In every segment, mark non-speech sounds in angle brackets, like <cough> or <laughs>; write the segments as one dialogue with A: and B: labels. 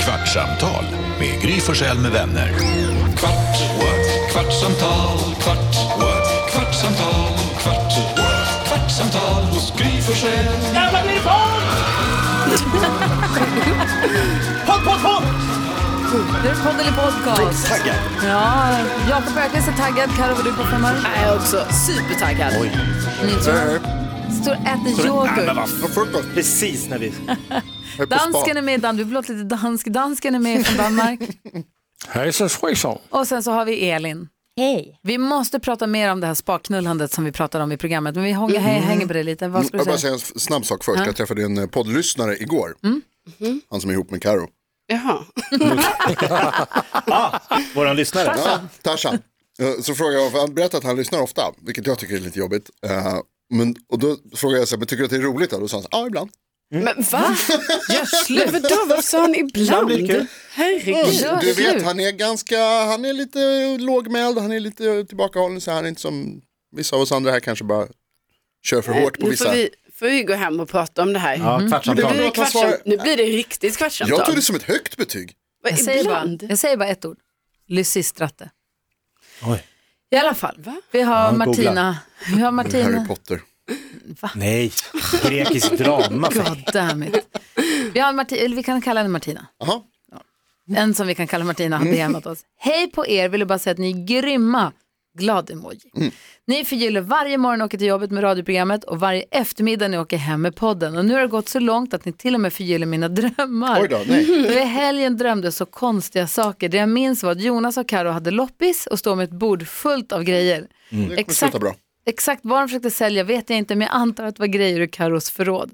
A: Kvartsamtal med Gry Forssell med vänner. Kvart, what? kvartsamtal, kvart, what? kvartsamtal, kvart, what? kvartsamtal hos Gry Forssell.
B: Jävla glifon! Hopp, hopp, hopp!
C: Det är podd eller podcast.
D: Taggad.
C: Ja, Jakob Öqvist är taggad. Carro, vad är du på för humör?
E: Jag är också supertaggad.
D: Oj.
C: Står och äter
D: Nej, men
C: yoghurt.
D: vad frukost. Precis när vi är på
C: Dansken
D: spa.
C: är
F: Mm,
C: med, i Dan- vi låter lite dansk. Dansken är med från Danmark.
G: Hejsan svejsan.
C: Och sen så har vi Elin.
E: Hej.
C: Vi måste prata mer om det här spaknullandet som vi pratade om i programmet. Men vi
E: Mm.
C: hänger, hänger på det lite. Vad ska du
F: Mm, Jag bara
C: säga? Mm.
F: säga en s- snabb sak först. Jag träffade en eh, poddlyssnare igår. Han som är ihop med Karo.
E: Jaha.
D: Våran lyssnare.
F: Ja, Tarzan. Eh, Så frågade jag, för han berättade att han lyssnar ofta, vilket jag tycker är lite jobbigt. Eh, Men, och då frågade jag så här, men tycker du att det är roligt då? Då sa han, ja ibland.
E: Men va? Men vadå, varför sa han
D: Ibland
E: ibland?
D: blir det kul.
E: Herregud.
C: Ja, det
F: Du
C: är
F: vet,
C: kul.
F: han är ganska, han är lite lågmäld, han är lite tillbakahållen, så han är inte som vissa av oss andra här kanske bara kör för hårt på
E: Eh, Nu får
F: vissa.
E: vi, får vi gå hem och prata om det här.
D: Ja,
E: Nu
D: kvartsamtal.
E: blir det,
F: att man svarar-
E: kvartsam, nu blir det riktigt kvartsamtal.
F: Jag tog det som ett högt betyg.
E: Vad,
C: Jag säger, bara,
E: ibland?
C: jag säger bara ett ord. Lysistrate.
G: Oj.
C: I alla fall,
E: Va?
C: vi har
G: googla.
C: Martina. Vi har
F: Harry
C: Martina.
F: Potter.
G: Nej, grekisk drama.
F: Alltså.
C: God damn it. Vi, har Marti- eller vi kan kalla henne Martina.
F: Jaha,
C: En som vi kan kalla Martina har
F: Mm.
C: DMat oss. Hej på er, vill jag bara säga att ni är grymma. Glad emoji.
F: Mm.
C: Ni förgyller varje morgon och åker till jobbet med radioprogrammet och varje eftermiddag när ni åker hem med podden. Och nu har det gått så långt att ni till och med förgyller mina drömmar.
F: oj då, nej.
C: Och I helgen drömde jag så konstiga saker. Det jag minns var att Jonas och Karo hade loppis och stod med ett bord fullt av grejer.
F: Mm. Det kommer sluta bra.
C: Exakt vad de försökte sälja vet jag inte, men jag antar att det var grejer ur Karos förråd.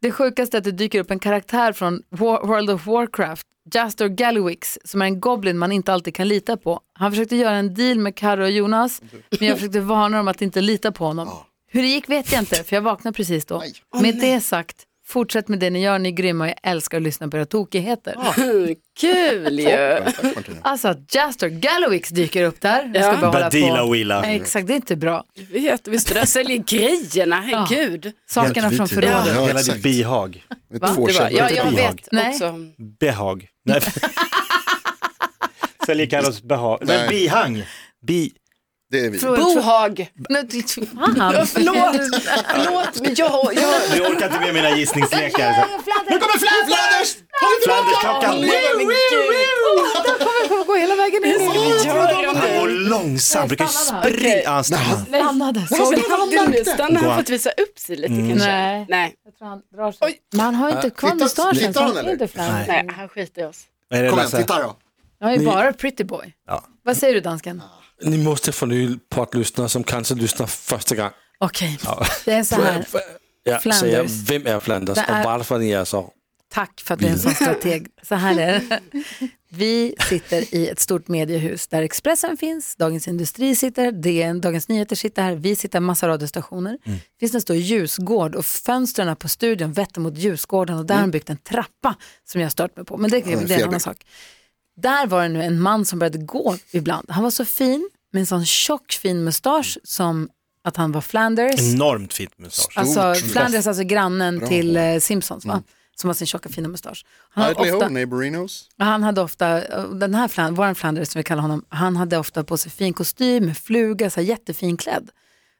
C: Det sjukaste är att det dyker upp en karaktär från War- World of Warcraft, Jastor Gallowix, som är en goblin man inte alltid kan lita på. Han försökte göra en deal med Karo och Jonas, men jag försökte varna dem att inte lita på honom. Hur det gick vet jag inte, för jag vaknade precis då. Med det sagt, fortsätt med det ni gör, ni är grymma och jag älskar att lyssna på era tokigheter.
E: Mm, Kul ju.
F: Tack Martina.
C: Alltså att Jastor Gallowix dyker upp där. Jag ska
E: Ja.
C: bara hålla
G: Badila
C: på.
G: Willa.
C: Nej, exakt, det är inte bra.
E: Vet, vi står där och säljer grejerna, herregud.
C: Sakerna
F: Helt
C: från
F: vidrigt.
C: förrådet.
F: Ja,
G: Hela
F: exakt.
G: ditt bihag.
F: Det är två
E: Det var,
F: källor.
E: ja, jag
G: bihag.
E: vet
C: Nej.
E: också.
G: Behag. Nej. <laughs> Säljer Carros behag.
F: Nej.
G: Men bihang. Bi...
F: Det är vi.
C: Fråga-
E: Bohag.
C: Nej, det- fan. <laughs>
E: Ja, förlåt, förlåt, men jag, jag, <laughs>
G: Nu orkar inte med mina gissningslekar. Så. Nu kommer Fla- Flanders! Flanderskockan!
E: men gud.
C: <laughs> kommer gå hela vägen in.
E: Vad ska vi göra
G: Han går
E: nu?
G: långsamt, brukar ju
C: Stanna
G: springa. Ja, han stannar.
C: Stannade. Såg
E: Såg
C: du?
E: du? Stannar
G: Gå
E: han
G: an.
E: för att visa upp sig lite kanske?
C: Nej.
E: Nej.
C: Jag tror han drar sig. Man har ju inte kvar
F: tittar-
C: mustaschen.
F: tittar
C: så
F: han,
C: han är
F: eller?
C: inte flash.
E: Nej, han skiter i oss.
G: Vad är det,
F: Kom igen,
G: Lasse?
F: titta då.
C: Han är ju bara pretty boy.
G: Ja.
C: Vad säger du dansken?
H: Ni måste få nya poddlyssnare som kanske lyssnar första gången.
C: Okej, det är så här.
H: Ja,
C: Flanders.
H: säger, vem är Flanders
C: Det är-
H: och varför ni är så?
C: Tack för att du är en sån strateg. Så här är det. Vi sitter i ett stort mediehus där Expressen finns, Dagens Industri sitter, DN, Dagens Nyheter sitter här, vi sitter i massa radiostationer.
H: Mm.
C: Det finns en stor ljusgård och fönstren på studion vetter mot ljusgården och där har
H: Mm.
C: de byggt en trappa som jag har stört mig på. Men det, det är en annan
F: fjällbygd.
C: sak. Där var det nu en man som började gå ibland. Han var så fin med en sån tjock fin mustasch som att han var Flanders.
G: Enormt fint mustasch.
C: Alltså
F: Stort.
C: Flanders, alltså grannen till eh, Simpsons, va? Som har sin tjocka fina mustasch. Han, hade
F: Idly Ho,
C: ofta,
F: Neighborinos.
C: han hade ofta, eh, den här Flanders, vår Flanders som vi kallar honom, han hade ofta på sig fin kostym med fluga, så här jättefin klädd.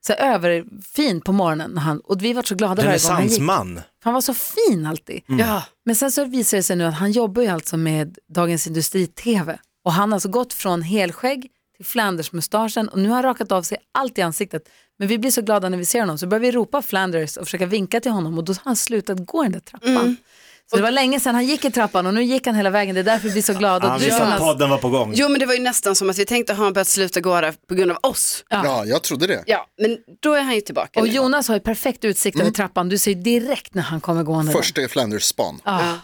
C: Så här överfin på morgonen. När han, och vi var så glada varje gång han gick.
G: Renässansman.
C: För Han var så fin alltid.
E: Ja.
C: Men sen så visar det sig nu att han jobbar ju alltså med Dagens Industri-TV. Och han har alltså gått från helskägg till Flanders-mustaschen och nu har han rakat av sig allt i ansiktet. Men vi blir så glada när vi ser honom så börjar vi ropa Flanders och försöka vinka till honom och då har han slutat gå i den där trappan.
E: Mm.
C: Så det var länge sedan han gick i trappan och nu gick han hela vägen. Det är därför vi blir så glada.
G: Han
C: Och du,
G: visste att
C: Jonas,
G: podden var på gång.
E: Jo men det var ju nästan som att vi tänkte har han börjat sluta gå där på grund av oss.
C: Ja.
F: Ja, jag trodde det.
E: Ja, men då är han ju tillbaka.
C: och
E: nu.
C: Jonas har ju perfekt utsikt över trappan. Du ser ju direkt när han kommer gående. där.
F: Första är Flanders span.
C: Ja.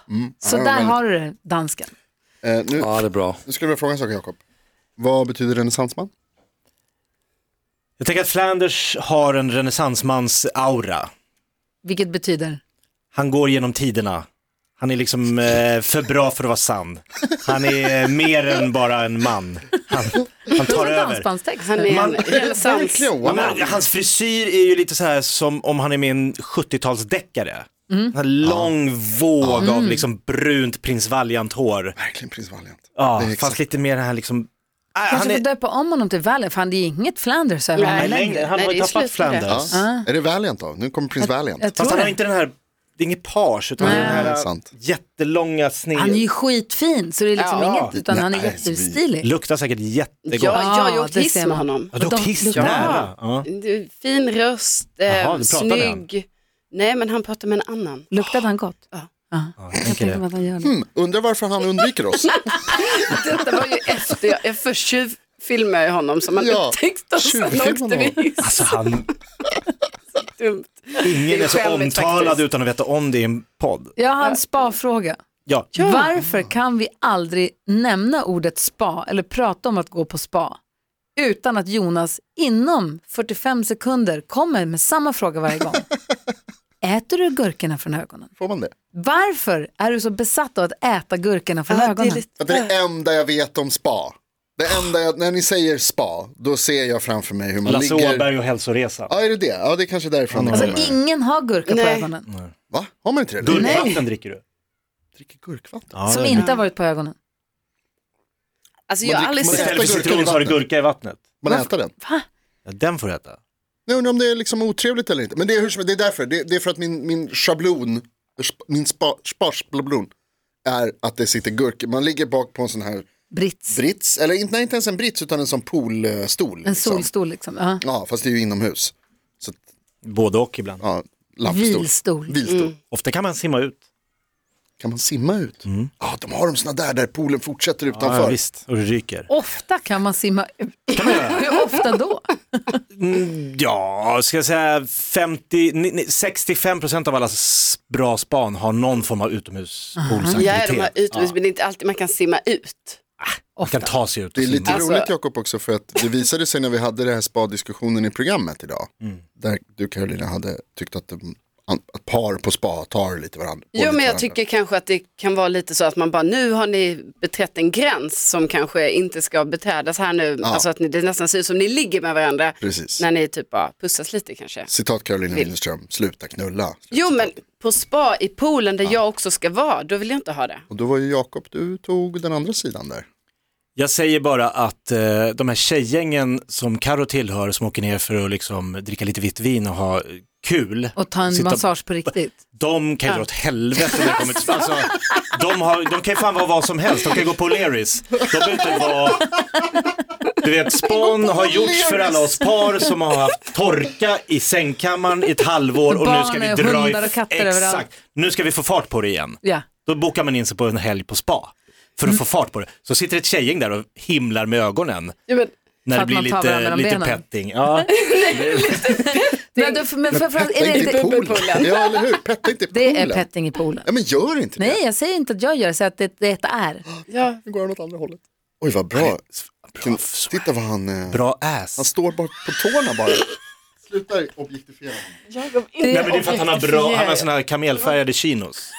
C: Så
F: Ja,
C: där
F: men-
C: har du det, dansken.
F: Eh, nu,
H: Ja, det är bra.
F: nu skulle jag vilja fråga en sak, Jakob. Vad betyder renässansman?
G: Jag tänker att Flanders har en renässansmans-aura.
C: Vilket betyder?
G: Han går genom tiderna. Han är liksom eh, för bra för att vara sann. Han är eh, mer än bara en man. Han, han
C: Det
G: tar
C: var en
G: över.
C: dansbandstext.
E: Han är
G: Man-
E: en renässans.
F: Verkligen,
G: Ja,
F: wow.
G: men Hans frisyr är ju lite så här som om han är med i en 70-talsdeckare.
E: Mm.
G: En lång våg av liksom brunt prins Valiant-hår.
F: Verkligen prins Valiant.
G: Ja,
F: Det är
G: fast
F: exakt-
G: lite mer den här liksom... Ah, han
C: Kanske
G: är...
C: får döpa om honom till Valiant, för han det är inget Flanders över
E: Nej,
C: honom
E: nej.
C: längre.
G: längre. Han
E: Nej,
G: har ju
E: det är
G: tappat
E: slut med det.
G: Flanders.
F: Är det Valiant då? Nu kommer prins Valiant.
C: Jag
G: Fast
C: tror
G: han har
C: det.
G: inte den här, det är inget page, utan den
F: Ja, det är
G: här
F: sant.
G: jättelånga sned.
C: Han är ju skitfin, så det är liksom
G: Ja.
C: inget, utan han är
F: Nej, så vi-
C: jättestilig.
G: Luktar säkert jättegott.
E: Ja, jag har ju
C: Ja,
E: åkt
C: det
E: hiss
C: ser
E: med
C: man.
E: honom.
G: Ja, du har
C: De-
G: åkt hiss
C: luktar-
G: nära. Ja.
E: Du, Fin röst, eh,
G: Jaha, du pratade med honom.
E: snygg. Nej, men han pratar med en annan. <laughs>
C: Luktade han gott?
E: Ja.
G: Ja,
C: Jag
G: tänker
C: tänker
G: det.
C: mig att han gör det.
F: Mm, undrar varför han
C: <laughs>
F: undviker oss.
E: Detta var ju efter, jag, jag först tjuvfilmade jag honom som han
F: Ja,
E: upptäckte och sen
F: tjuvfilmade
E: åkte vi
F: honom.
E: hiss.
G: Alltså han,
E: Dumt.
G: ingen
E: Det
G: är
E: är
G: så
E: skämmigt
G: omtalad
E: faktiskt.
G: utan att veta om det i en podd.
C: Jag har en spa-fråga.
G: Ja,
C: Varför kan vi aldrig nämna ordet spa eller prata om att gå på spa utan att Jonas inom 45 sekunder kommer med samma fråga varje
E: <laughs>
C: gång? Äter du gurkorna från ögonen?
F: Får man det?
C: Varför är du så besatt av att äta gurkorna från
E: Ja, det
C: ögonen?
E: är lite,
F: Att det är det enda jag vet om spa. Det enda jag, när ni säger spa, då ser jag framför mig hur man
G: Lasse
F: ligger.
G: Åberg och hälsoresa.
F: Ja, är det det? Ja, det är kanske därifrån det kommer.
C: Alltså ingen har gurka på
E: Nej.
C: ögonen
F: Va? Har man inte det?
G: Gurkvatten dricker du.
F: Dricker gurkvatten.
C: som inte har varit på ögonen.
E: alltså jag har
F: dricker-
E: aldrig
F: man
E: sett
F: äter-
G: Istället för citron så har du gurka i vattnet.
F: Man äter den.
G: Ja, den får du äta.
F: Jag undrar om det är liksom otrevligt eller inte. Men det är, hur som, det är därför. Det, det är för att min, min schablon, sp- min spa- sparschablon är att det sitter gurka. Man ligger bak på en sån här
C: Brits.
F: brits, eller inte, nej, inte ens en brits utan en sån poolstol.
C: En solstol liksom. Ja.
F: Ja, fast det är ju inomhus. Så, att,
G: Både och ibland.
F: ja, lampstol.
C: Vilstol. Mm.
F: Vilstol.
G: Ofta kan man simma ut.
F: Kan man simma ut? Ja, de har de såna där där poolen fortsätter utanför.
G: Mm. Ja, visst. Och det ryker.
C: Ofta kan man simma ut. <laughs> Hur ofta då?
G: Ja, ska jag säga 50, ni- ni- 65 procent av alla s- bra span har någon form av utomhuspoolsaktivitet.
E: Ja, de här utomhus, men det är inte alltid man kan simma ut.
G: Man kan ta sig ut.
F: Det är
G: och
F: lite
G: simma.
E: Alltså-
F: roligt Jakob också för att det visade sig när vi hade den här spa-diskussionen i programmet idag.
C: Mm.
F: Där du Carolina hade tyckt att de- an- att par på spa tar lite varandra. och
E: Jo,
F: lite
E: men jag
F: varandra.
E: tycker kanske att det kan vara lite så att man bara, nu har ni beträtt en gräns som kanske inte ska beträdas här nu. Alltså att ni, det nästan ser ut som ni ligger med varandra
F: Precis.
E: när ni typ bara pussas lite kanske.
F: Citat Carolina Widerström, sluta knulla.
E: Jo, men på spa i poolen där jag också ska vara, då vill jag inte ha det.
F: Och då var ju Jakob, du tog den andra sidan där.
G: Jag säger bara att eh, de här tjejgängen som Karo tillhör som åker ner för att liksom dricka lite vitt vin och ha kul.
C: Och ta en
G: Sitta-
C: massage på riktigt.
G: De kan ju dra åt helvete när det
C: <laughs>
G: kommer till alltså, de, har, de kan ju fan vara vad som helst, de kan gå på Leris. De behöver inte vara... Du vet, span har gjorts för alla oss par som har haft torka i sängkammaren i ett halvår och nu ska
C: Barn
G: vi
C: och
G: dra i...
C: hundar och katter överallt.
G: Exakt, nu ska vi få fart på det igen.
C: Ja.
G: Då bokar man in sig på en helg på spa för
C: Mm.
G: att få fart på det. Så sitter ett tjejgäng där och himlar med ögonen
E: Jo, men,
G: när
C: För
G: det
C: att
G: blir
C: man tar varandra
G: lite,
C: med
G: lite
C: benen.
G: petting. Ja.
C: Men, då, men framförallt är det
F: Petta inte i
C: inte...
F: poolen. Ja, eller hur? Petta inte i poolen.
C: Det är petting i poolen.
F: Ja, men gör inte
C: Nej,
F: det.
C: jag säger inte att jag gör det, så att det, det är.
E: ja,
F: Nu går han åt andra hållet. Oj, vad bra. Vilken- Titta vad han... eh,
G: Bra
F: Han
G: ass.
F: står bara på tårna
C: <laughs>
F: bara. Sluta objektifiera honom.
G: Nej, men det är för att han har, bra, han har såna här kamelfärgade chinos.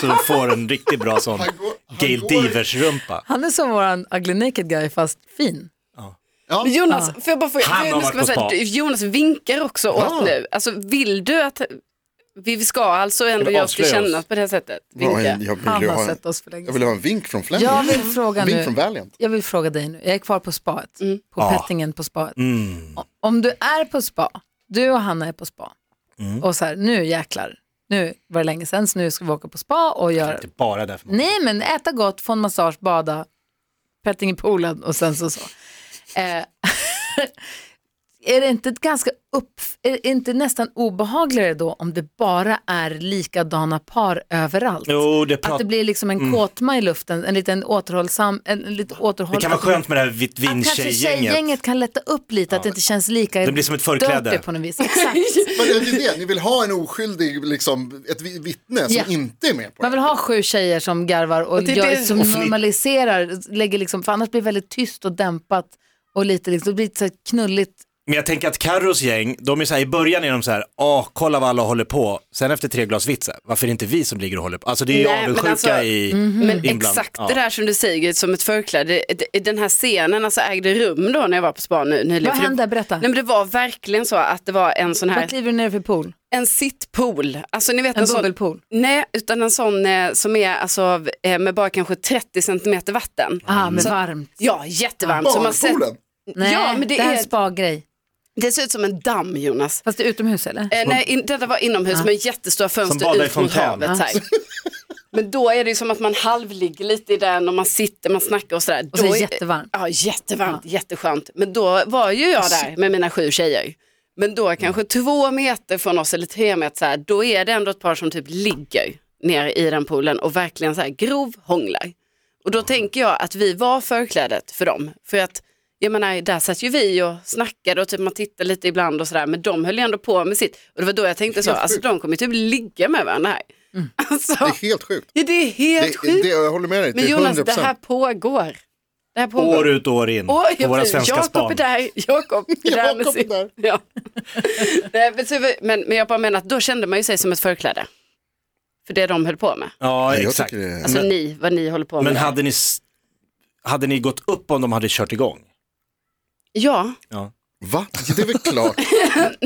G: Så de får en riktigt bra sån
F: Han går- han
G: Gail
F: går-
G: Divers-rumpa.
C: Han är som våran ugly naked guy fast fin.
F: Ja,
E: Men Jonas, får jag bara fråga,
G: Han
E: för jag
G: har
E: nu ska
G: varit
E: bara
G: på
E: säga, Jonas vinkar också åt nu. Alltså vill du att, vi ska alltså ändå
G: vi
E: jag ska
G: avslöja oss?
E: känna på det här sättet.
F: jag,
E: Vinka.
F: vill ju
C: Han
F: ha
C: har
F: en,
C: sett oss för
F: jag
C: länge
F: vill ha en vink från Flemming.
C: Jag vill fråga
E: eh,
F: Vink från
C: nu.
F: Valiant.
C: Jag vill fråga dig nu. Jag är kvar på spaet. På pettingen på spaet.
G: Mm,
C: Om du är på spa, du och Hanna är på spa.
G: Mm.
C: Och så här, nu jäklar. Nu var det länge sedan, så nu ska vi åka på spa och göra...
G: Inte bara därför. man-
C: Nej, men äta gott, få en massage, bada, petting i poolen och sen så
G: <laughs>
C: så. Eh, <laughs> är det inte ett ganska upp, är det inte nästan obehagligare då om det bara är likadana par överallt?
G: Jo, det,
C: Att
G: prat,
C: det
G: det,
C: blir liksom en kåtma i luften, en liten återhållsam, en, en lite återhåll...
G: kan vara skönt med det här vitt
C: att kanske
G: vin-tjejgänget.
C: tjejgänget kan lätta upp lite, att det inte känns lika
G: Det blir som ett förkläde.
C: dirty på något vis. Exakt.
F: Men det är ju det, ni vill ha en oskyldig, liksom, ett vi- vittne som
C: Ja.
F: inte är med på
C: Man vill
F: det.
C: ha sju tjejer som garvar och,
E: Och det är
C: gör,
E: det-
C: som
E: och
G: fnitt.
C: normaliserar, lägger liksom, för annars blir det väldigt tyst och dämpat och lite, liksom, det blir lite så här knulligt.
G: Men jag tänker att Carros gäng, de är så här, i början är de så här, åh, kolla vad alla håller på. Sen efter tre glas vitt, så här, varför är det inte vi som ligger och håller på? Alltså det är ju
E: Nej, men
G: avundsjuka
E: alltså-
G: i
C: Mhm.
E: Men
G: inbland.
E: exakt
G: Ja.
E: det där som du säger som ett förkläde, det- det- den här scenen alltså ägde rum då när jag var på spa nu, nyligen.
C: Vad
E: För det-
C: hände? Berätta.
E: Nej men det var verkligen så att det var en sån
C: Vad
E: här,
C: kliver du ner för pool?
E: En sittpool, alltså ni vet
C: En
E: sån,
C: bubbelpool.
E: nej utan en sån eh, som är alltså av, eh, med bara kanske 30 centimeter vatten.
C: Ah, men varmt.
E: Ja, jättevarmt. Så man sett,
F: Barnpoolen?
C: Nej,
E: ja, men det,
C: här är en
E: är,
C: spa-grej.
E: det ser ut som en damm Jonas.
C: Fast det är utomhus eller?
E: Eh, nej, in, detta var inomhus med jättestora
G: badar i
E: fönster ut mot
G: fontän.
E: havet. Så här.
C: <laughs>
E: Men då är det ju som att man halvligger lite i den och man sitter, man snackar och sådär.
C: Och så är
E: Då
C: det jättevarmt.
E: Ja, jättevarmt, jätteskönt. Men då var ju jag där med mina sju tjejer. Men
C: Mm.
E: då kanske två meter från oss eller tre meter så här, då är det ändå ett par som typ ligger ner i den poolen och verkligen så här grov hånglar. Och då tänker jag att vi var förklädet för dem. För att jag menar, där satt ju vi och snackade och typ man tittade lite ibland och sådär. Men de höll ju ändå på med sitt. Och det var då jag tänkte så, alltså de kommer ju typ ligga med varandra här. <laughs> Alltså,
F: Mm. Det är helt sjukt.
E: ja, det är helt
F: Det, det,
E: sjukt.
F: jag håller med dig,
E: Men
F: det är
E: Jonas,
F: 100%.
E: det här pågår. Det här pågår.
G: År ut och år in
E: Åh,
G: på
E: jag
G: våra
E: blir-
G: svenska
E: Jakob är
G: span.
E: där, Jakob är där med
F: Jakob är
E: sin...
F: där.
E: <laughs> Ja. Nej, men, så- men, men jag bara menar att då kände man ju sig som ett förkläde. För det de höll på med.
G: Ja,
F: Jag
G: exakt.
F: tycker det är-
E: Alltså
G: Men-
E: ni, vad ni håller på med.
G: Men hade ni, s- hade ni gått upp om de hade kört igång?
E: Ja,
F: Va? Det är väl klart. <laughs>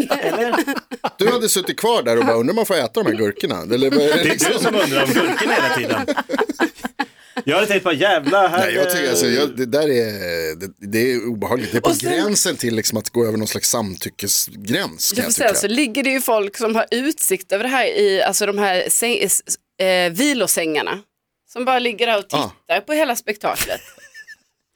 F: Du hade suttit kvar där och bara, undrar om man får äta de här gurkorna? Eller, vad är liksom- det
G: Det är du som undrar om gurkorna hela tiden. Jag hade tänkt bara jävla här.
F: Nej, jag tycker alltså,
G: eh,
F: jag, det där är, det, det är obehagligt. Det är på
E: sen-
F: gränsen till liksom att gå över någon slags samtyckesgräns. kan jag
E: jag får säga,
F: tycka.
E: så ligger det ju folk som har utsikt över det här i alltså de här säng, eh, vilosängarna. Som bara ligger där och
F: Ah.
E: tittar på
F: <laughs>
E: hela spektaklet.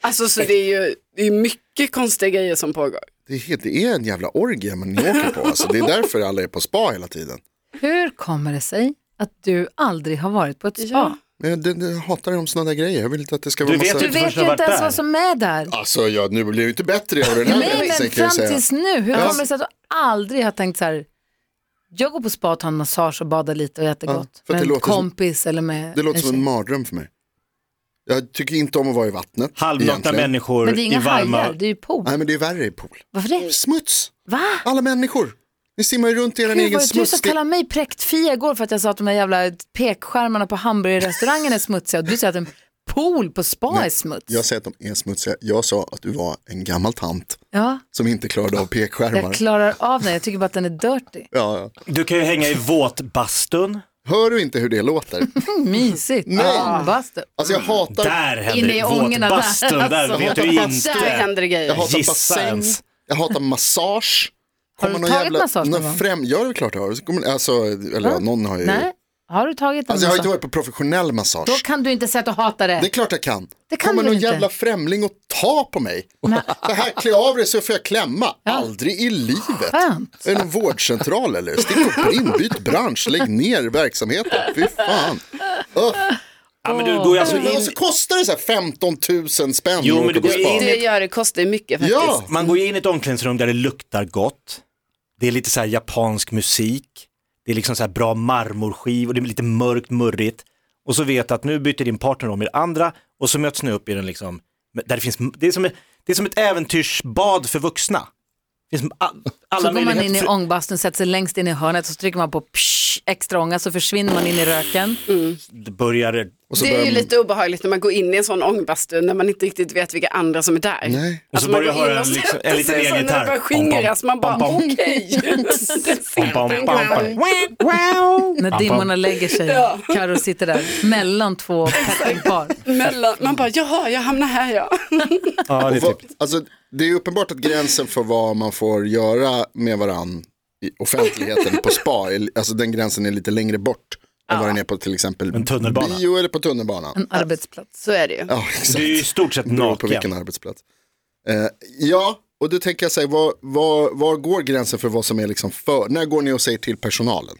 E: Alltså så det är ju det är mycket konstiga grejer som pågår.
F: Det, är, helt- det är en jävla orgie man åker på. Alltså, det är därför alla är på spa hela tiden.
C: Hur kommer det sig att du aldrig har varit på ett spa?
E: Ja.
F: Men jag, det, jag hatar om sådana där grejer. Jag vill inte att det ska vara
G: Du vet
F: massa...
C: Du
G: inte
C: vet
G: först jag
C: ju
G: har
C: inte
G: varit
C: ens
G: där.
C: vad som är där.
F: Alltså, jag, nu blir jag ju inte bättre av den här
C: Nej,
F: gränsen,
C: men
F: kan
C: fram
F: jag säga.
C: tills nu, hur
F: Ja.
C: kommer det sig att du aldrig har tänkt så här, jag går på spa och tar en massage och badar lite och äter
F: Ja,
C: gott
F: för
C: med
F: att det
C: en
F: låter som-
C: kompis eller med
F: Det låter
C: en
F: som en
C: tjej.
F: mardröm för mig. Jag tycker inte om att vara i vattnet.
G: Halvnakna
F: egentligen.
G: människor
C: Men det är inga
G: i varma...
C: hajar, det är ju pool.
F: Nej, men det är värre i pool.
C: Varför det?
F: Smuts!
C: Va?
F: Alla människor. Ni simmar ju runt i er
C: Gud,
F: egen
C: vad du som
F: smuts. Det-
C: kallade mig präktfia igår för att jag sa att de där jävla pekskärmarna på hamburgerrestaurangen är smutsiga och du säger att en pool på spa är smuts.
F: Jag säger att de är smutsiga. Jag sa att du var en gammal tant
C: Ja,
F: som inte klarade av pekskärmar.
C: jag klarar av den, jag tycker bara att den är dirty.
F: Ja, ja.
G: Du kan ju hänga i våtbastun.
F: Hör du inte hur det låter?
C: Mysigt.
F: Nej.
C: Ah, bastu.
F: Alltså jag hatar,
G: Där
C: Inne
G: händer
C: i
G: det.
C: ångorna där,
G: Våtbastun, där,
C: alltså.
G: vet du
F: Där
G: inte.
E: Där händer det
F: jag
E: grejer.
F: hatar
G: Gissa
F: bassäng,
G: ens.
F: jag hatar massage.
C: Har du
F: Kommer någon
C: tagit massage någon
F: någon
C: gång?
F: främ... Ja, det är klart jag har. Så kommer- Alltså, eller ja, någon har ju...
C: Nej, har du tagit den?
F: Alltså jag har
C: Alltså,
F: inte varit på professionell massage.
C: Då kan du inte säga att du hatar det.
F: Det är klart jag kan.
C: Det kan
F: Kommer
C: du
F: någon
C: inte.
F: jävla främling och ta på mig? Så här, klä av dig så får jag klämma. Aldrig i livet.
C: Skönt.
F: Är det någon vårdcentral eller? Stick upp in, byt bransch, lägg ner verksamheten. Fy fan. Öh.
G: Ja, men du går ju alltså
F: Men Och så
G: in,
F: kostar det så här 15 000 spänn
G: Jo,
F: att
G: men du
F: åka på
G: går
F: spa.
G: in-
E: Det gör det, kostar ju mycket faktiskt.
F: Ja,
G: man går ju in i ett omklädningsrum där det luktar gott. Det är lite så här japansk musik. Det är liksom så här bra marmorskiv och det är lite mörkt, murrigt. Och så vet att nu byter din partner om i det andra och så möts ni upp i den liksom, där det finns, det är som ett, det är som ett äventyrsbad för vuxna. Det finns a- alla
C: Så går man
G: möjligheter
C: in i
G: för-
C: ångbastun, sätter sig längst in i hörnet och så trycker man på psh, extra ånga så försvinner man in i röken.
G: Det börjar
F: Och så
E: Det är
F: börjar
E: ju
F: man-
E: lite obehagligt när man går in i en sån ångbastu när man inte riktigt vet vilka andra som är där.
G: Och så
E: man
G: börjar jag
E: går in
G: höra
E: och
G: en liksom-
E: sätter
G: en liten
E: sig,
G: elgitarr.
E: sen när det börjar skingras, man bara
G: Pom, pom, pom. <laughs>
E: okej. Det sitter
G: Bam,
E: en
G: bam,
E: kvar.
G: bam. Wow.
C: När dimmorna lägger sig. Karo sitter där mellan två pettingpar.
E: Mellan, man bara jaha, jag hamnar här ja.
G: <laughs> Ja, det är
F: Och vad-
G: typ.
F: Alltså, det är uppenbart att gränsen för vad man får göra med varann i offentligheten på spa, är- alltså den gränsen är lite längre bort än vad den är på till exempel
G: En tunnelbana.
F: bio eller på tunnelbanan.
C: En arbetsplats.
E: Så är det ju.
F: Ja, exakt.
G: Du är ju i stort sett
F: Beroende på
G: naken.
F: vilken arbetsplats. Eh, ja, och då tänker jag så här, var, var, var går gränsen för vad som är liksom för, när går ni och säger till personalen?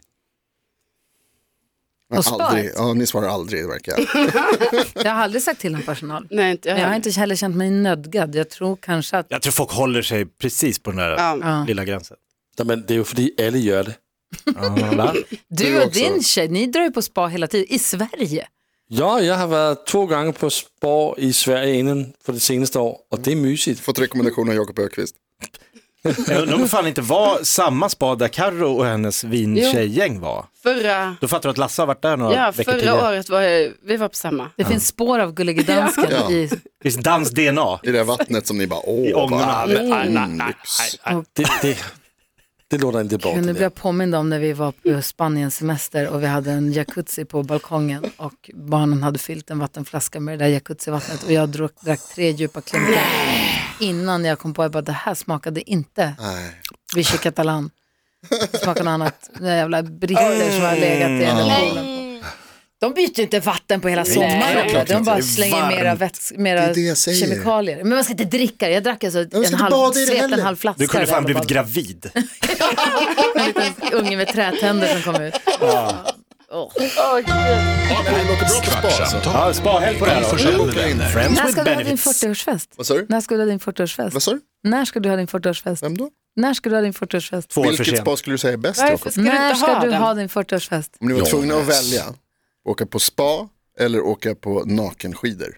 C: På spaet?
F: aldrig, ja, ni svarar aldrig verkar jag.
C: Jag har aldrig sagt till någon personal.
E: Nej, inte jag
C: Men jag har
E: heller.
C: inte heller känt mig nödgad. Jag tror kanske att...
G: Jag tror folk håller sig precis på den där
E: Ja.
G: lilla gränsen.
H: Nej, men det är ju fordi alla gör det.
G: Va?
C: Du och
F: också.
C: din tjej, ni drar ju på spa hela tiden. I Sverige.
H: Ja, jag har varit två gånger på spår i Sverige innan för det senaste år och det är mysigt.
F: Fått rekommendation av Jakob Ökvist.
G: Jag undrar om det fan inte var samma spa där Carro och hennes vintjejgäng var.
E: Förra,
G: Då fattar du att Lasse har varit där några
E: ja,
G: veckor
E: förra
G: tidigare.
E: året var jag, vi var på samma.
C: Det finns spår av Gullige Dansken
F: Ja.
C: i...
G: Det är dans DNA.
F: I det här vattnet som ni bara, åh,
G: ångorna.
F: vad
G: Nej, nej,
F: mm,
G: nej,
F: lyx.
H: Det, det, Det låter inte bra.
C: Gud, nu
H: till
C: blir jag påmind om när vi var på Spaniens semester och vi hade en jacuzzi på balkongen och barnen hade fyllt en vattenflaska med det där jacuzzivattnet och jag drack, drack tre djupa klunkar innan jag kom på att det här smakade inte
F: Nej.
C: vichy catalan. Det smakade något annat, den jävla britter som har legat i den där poolen. De byter ju inte vatten på hela sommaren.
F: självklart
C: De
F: inte.
C: bara
F: Mm. Det är
C: slänger
F: varmt.
C: mera, väts- mera
F: Det är det jag säger.
C: kemikalier. Men man ska inte dricka det. Jag drack alltså
F: ska
C: en
F: inte
C: halv,
F: bada i det
C: svepte en
F: heller.
C: halv flaska.
G: Du kunde
C: i det
G: fan
C: här
G: blivit
C: badet.
G: gravid.
C: En liten unge med trätänder som kom ut.
F: Det här låter bra på spa alltså.
A: Kvartsamtal
G: Ja, spa-helg på det här
A: med
G: då.
A: Gry Forssell med vänner.
G: Friends
C: När
G: with
C: ska du ha din
G: benefits.
C: 40-årsfest?
F: Vad sa du?
C: När ska du ha din
F: Vad
C: 40-årsfest?
F: sa du?
C: När ska du ha din 40-årsfest?
F: Vem då?
C: När ska du ha din 40-årsfest?
G: Två år för
F: Vilket
G: sent.
F: spa skulle du säga är bäst
E: Varför
F: Jakob?
E: ska du
C: När
E: inte
C: ska
E: ha
C: du
E: den?
C: ha din 40-årsfest?
F: Om ni var tvungna att välja, åka på spa eller åka på nakenskidor.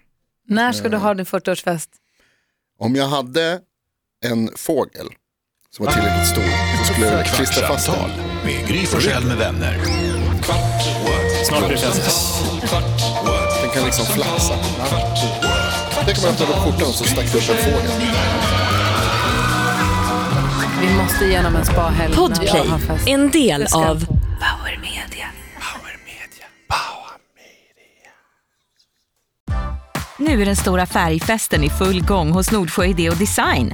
C: När ska du ha din 40-årsfest?
F: Om jag hade en fågel som var tillräckligt stor så skulle jag klistra fast
A: Kvartsamtal
F: den.
A: med Gry Forssell med vänner. Kvart, what?
G: Snart blir det fest.
A: Kvartsamtal, kvart, what?
F: Den kan liksom flaxa.
A: Kvart, what?
F: Tänk om jag öppnade skjortan och så stack det upp en fågel.
C: Vi måste igenom en spahelg. när alla har
I: Podplay,
C: fest.
I: en del av
C: Power Media.
J: Nu är den stora färgfesten i full gång hos Nordsjö Idé och Design.